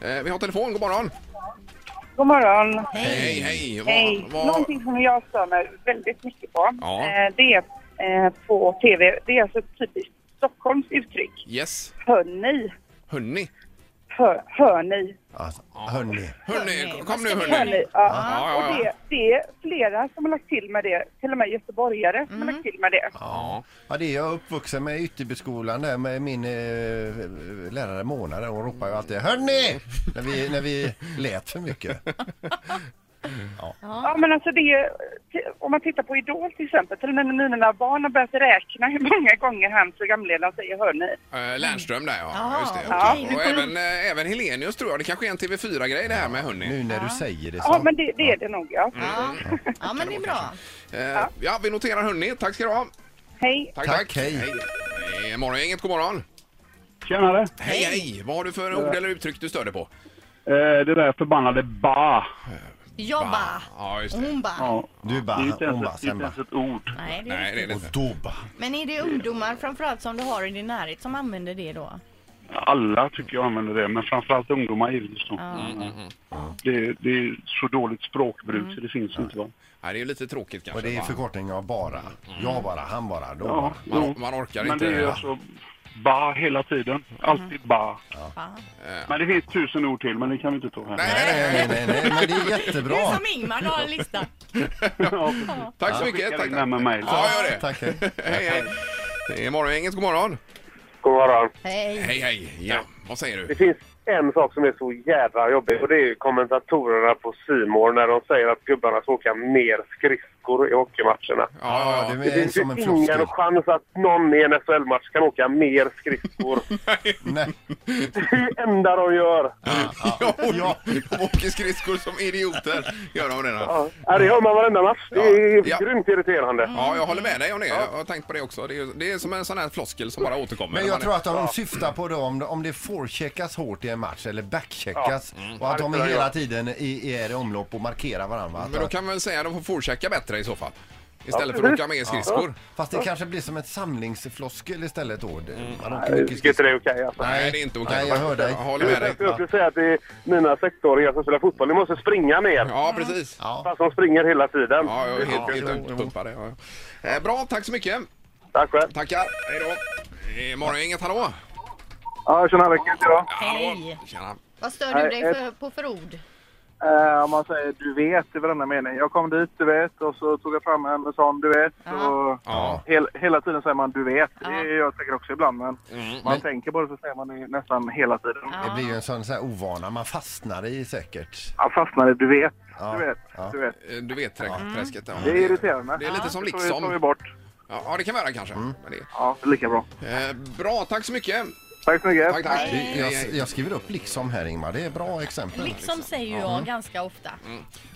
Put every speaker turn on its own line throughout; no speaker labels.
Eh, vi har telefon, god morgon.
God morgon.
Hej, hej. Vad-
Hej.
vad-
Någonting som jag stör mig väldigt mycket på,
Ja.
eh, det är eh, på tv. Det är alltså ett typiskt Stockholms uttryck.
Yes,
Hör ni?
hörni.
Hör, hör ni?
Alltså, hörni.
Hörni,
Hörni,
kom
vad
nu
ska vi
Hör
hörni.
ni?
Mm. Ja,
Ja.
ja, ja.
Och det, det är flera som har lagt till med det. Till och med göteborgare som
Mm.
har lagt till med det.
Ja.
Ja, det är jag uppvuxen med i Ytterbyskolan där med min eh, lärare Mona där. Hon ropar ju alltid hörni! När vi, när vi lät för mycket.
Ja, men alltså det är, t- om man tittar på Idol till exempel, till och med när mina barn har börjat räkna hur många gånger han programledaren säger hör ni.
Eh, Lernström där ja.
Ja,
Just det.
ja.
okej. Och även, eh, även Helenius tror jag. Det kanske är en TV4-grej det här med hörni.
Nu när du säger det så.
Alltså.
Ja, men det, det är det nog ja.
Mm.
Ja. ja, men det är bra.
Eh, ja, vi noterar hörni. Tack ska du ha.
Hej.
Tack,
Tack,
tack.
hej.
Eh, Morgongänget, god morgon.
Tjenare!
Hej, hej. Vad har du för ord eller uttryck du störde på?
Eh, det där förbannade ba.
Jobba.
Ja, just det.
Hon bara.
Ja.
Du bara,
Det är ju inte
hon bara,
ens,
sen
inte
bara.
ens ett ord.
Nej, det
Nej,
är...
det är det
Och
inte.
då bara.
Men är det ungdomar framförallt som du har i din närhet som använder det då?
Alla tycker jag använder det, men framförallt ungdomar givetvis. då. Mm, Det, det är så dåligt språkbruk så det finns inte. Va?
Nej, det är ju lite tråkigt kanske.
Och det är
va?
förkortning av bara. Jag bara, han bara, då
Ja,
bara.
jo.
Man, man orkar
Mm. men
inte.
det är alltså ba hela tiden. Alltid ba.
Va?
Men det finns tusen ord till, men det kan vi inte ta här.
Nej, nej, nej.
Nej, nej, nej, nej, men det är
Det är
jättebra.
som Ingmar, du har en lista.
Ja, precis.
Tack så
Jag
mycket.
skickar
Tack,
in den med mail.
Ja, gör det.
Tack, hej.
Hej, hej. Det är Morgongänget, god morgon.
God morgon.
Hej.
Hej, hej. Ja, vad säger
Det
du?
finns en sak som är så jävla jobbig och det är ju kommentatorerna på Simor när de säger att gubbarna ska åka mer skridskor i hockeymatcherna.
Ja, ja,
Ja,
ja.
det är
finns ju
som en
ingen
floskel.
chans att någon i en SHL-match kan åka mer skridskor.
Nej.
det enda de gör.
Ja, de åker skridskor som idioter, gör de det. då.
Ja. Ja, det gör man varenda match. Det är
Ja.
grymt irriterande.
Ja, jag håller med dig om det. Jag har tänkt på det också. Det är, det är som en sån här floskel som bara återkommer.
Men
När
jag
man
tror att de syftar på det om, om det forecheckas hårt i en match eller backcheckas och att de
Ja, det tror jag.
hela tiden i, är i omlopp och markerar varandra.
är... Men då kan man väl säga att de får forechecka bättre i så fall. Istället för att åka med i skridskor.
Fast det kanske blir som ett samlingsfloskel istället då. Det- Man åker
Jag
mycket
tycker inte det är okej alltså.
Nej, det är inte okej.
Nej, jag hör dig.
Jag håller
Du
med
vet,
dig.
jag skulle säga att det är mina sexåringar som spelar fotboll. Ni måste springa mer.
Ja, precis.
Ja.
Fast de springer hela tiden.
Ja, jag är helt, helt
jo,
utpumpad. Ja. ja. Eh, Bra, tack så mycket.
Tack själv.
Tackar. Hej då. Det är Morgongänget, hallå.
Ja, tjena Rickard idag.
Hallå.
Hej.
Tjena.
Vad stör du
Nej,
dig
ett-
för, på för ord?
Eh, om man säger du vet i varenda mening. Jag kom dit, du vet, och så tog jag fram en sån, du vet.
Ja.
Och
Ja.
hel, hela tiden säger man du vet.
Ja.
Det gör jag säkert också ibland, men
Mm,
man tänker på det så säger man det nästan hela tiden.
Det blir ju en sån, sån här ovana man fastnar i säkert.
Jag fastnade, du vet,
Ja.
du vet,
Ja.
du vet.
Eh, Du vet trä- träsket. Ja.
Det är irriterande.
Det är lite som
Det tar vi- tar vi
liksom.
bort.
Ja, ja, det kan vara kanske. Men det,
Ja, det är lika bra.
eh, bra, tack så mycket.
Tack så mycket.
Tack, Eh, tack.
Jag, jag skriver upp liksom här Ingmar, det är bra exempel.
Liksom säger jag ganska ofta.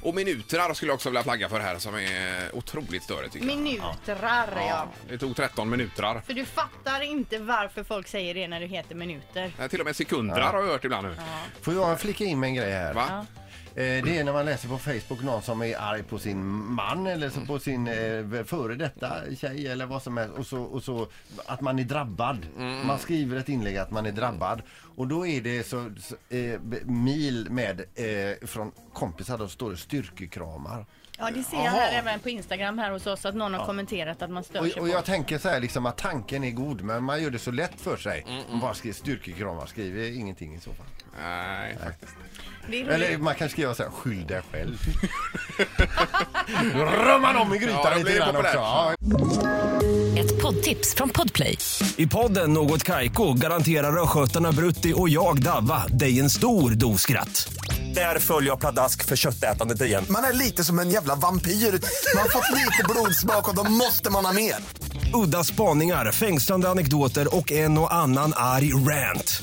Och minutrar skulle jag också vilja flagga för här som är otroligt större tycker jag.
Minutrar, ja.
Det tog 13 minutrar.
För du fattar inte varför folk säger det när du heter minuter.
Eh, Till och med sekundrar har jag hört ibland nu.
Får jag flika in med en grej här?
Va?
Eh, Det är när man läser på Facebook någon som är arg på sin man eller så på sin eh, före detta tjej eller vad som helst och så, och så att man är drabbad. Man skriver ett inlägg att man är drabbad och då är det så, så eh, b- mil med eh, från kompisar då står det styrkekramar.
Ja, det ser jag
Jaha.
här även på Instagram här hos oss att någon har kommenterat att man stör sig
Och, och
på.
jag tänker så här liksom att tanken är god men man gör det så lätt för sig. Man bara skriver styrkekramar, skriver ingenting i så fall.
Nej, faktiskt.
Det är
Eller
roligt.
man kan skriva så här, skyll dig själv. Då rör man om i grytan
Ja, då blir
lite
det
grann också.
populärt.
Ja,
Ett poddtips från Podplay.
I podden Något Kaiko garanterar östgötarna Brutti och jag, Davva, dig en stor dos skratt. Där följer jag pladask för köttätandet igen.
Man är lite som en jävla vampyr. Man har fått lite blodsmak och då måste man ha mer.
Udda spaningar, fängslande anekdoter och en och annan arg rant.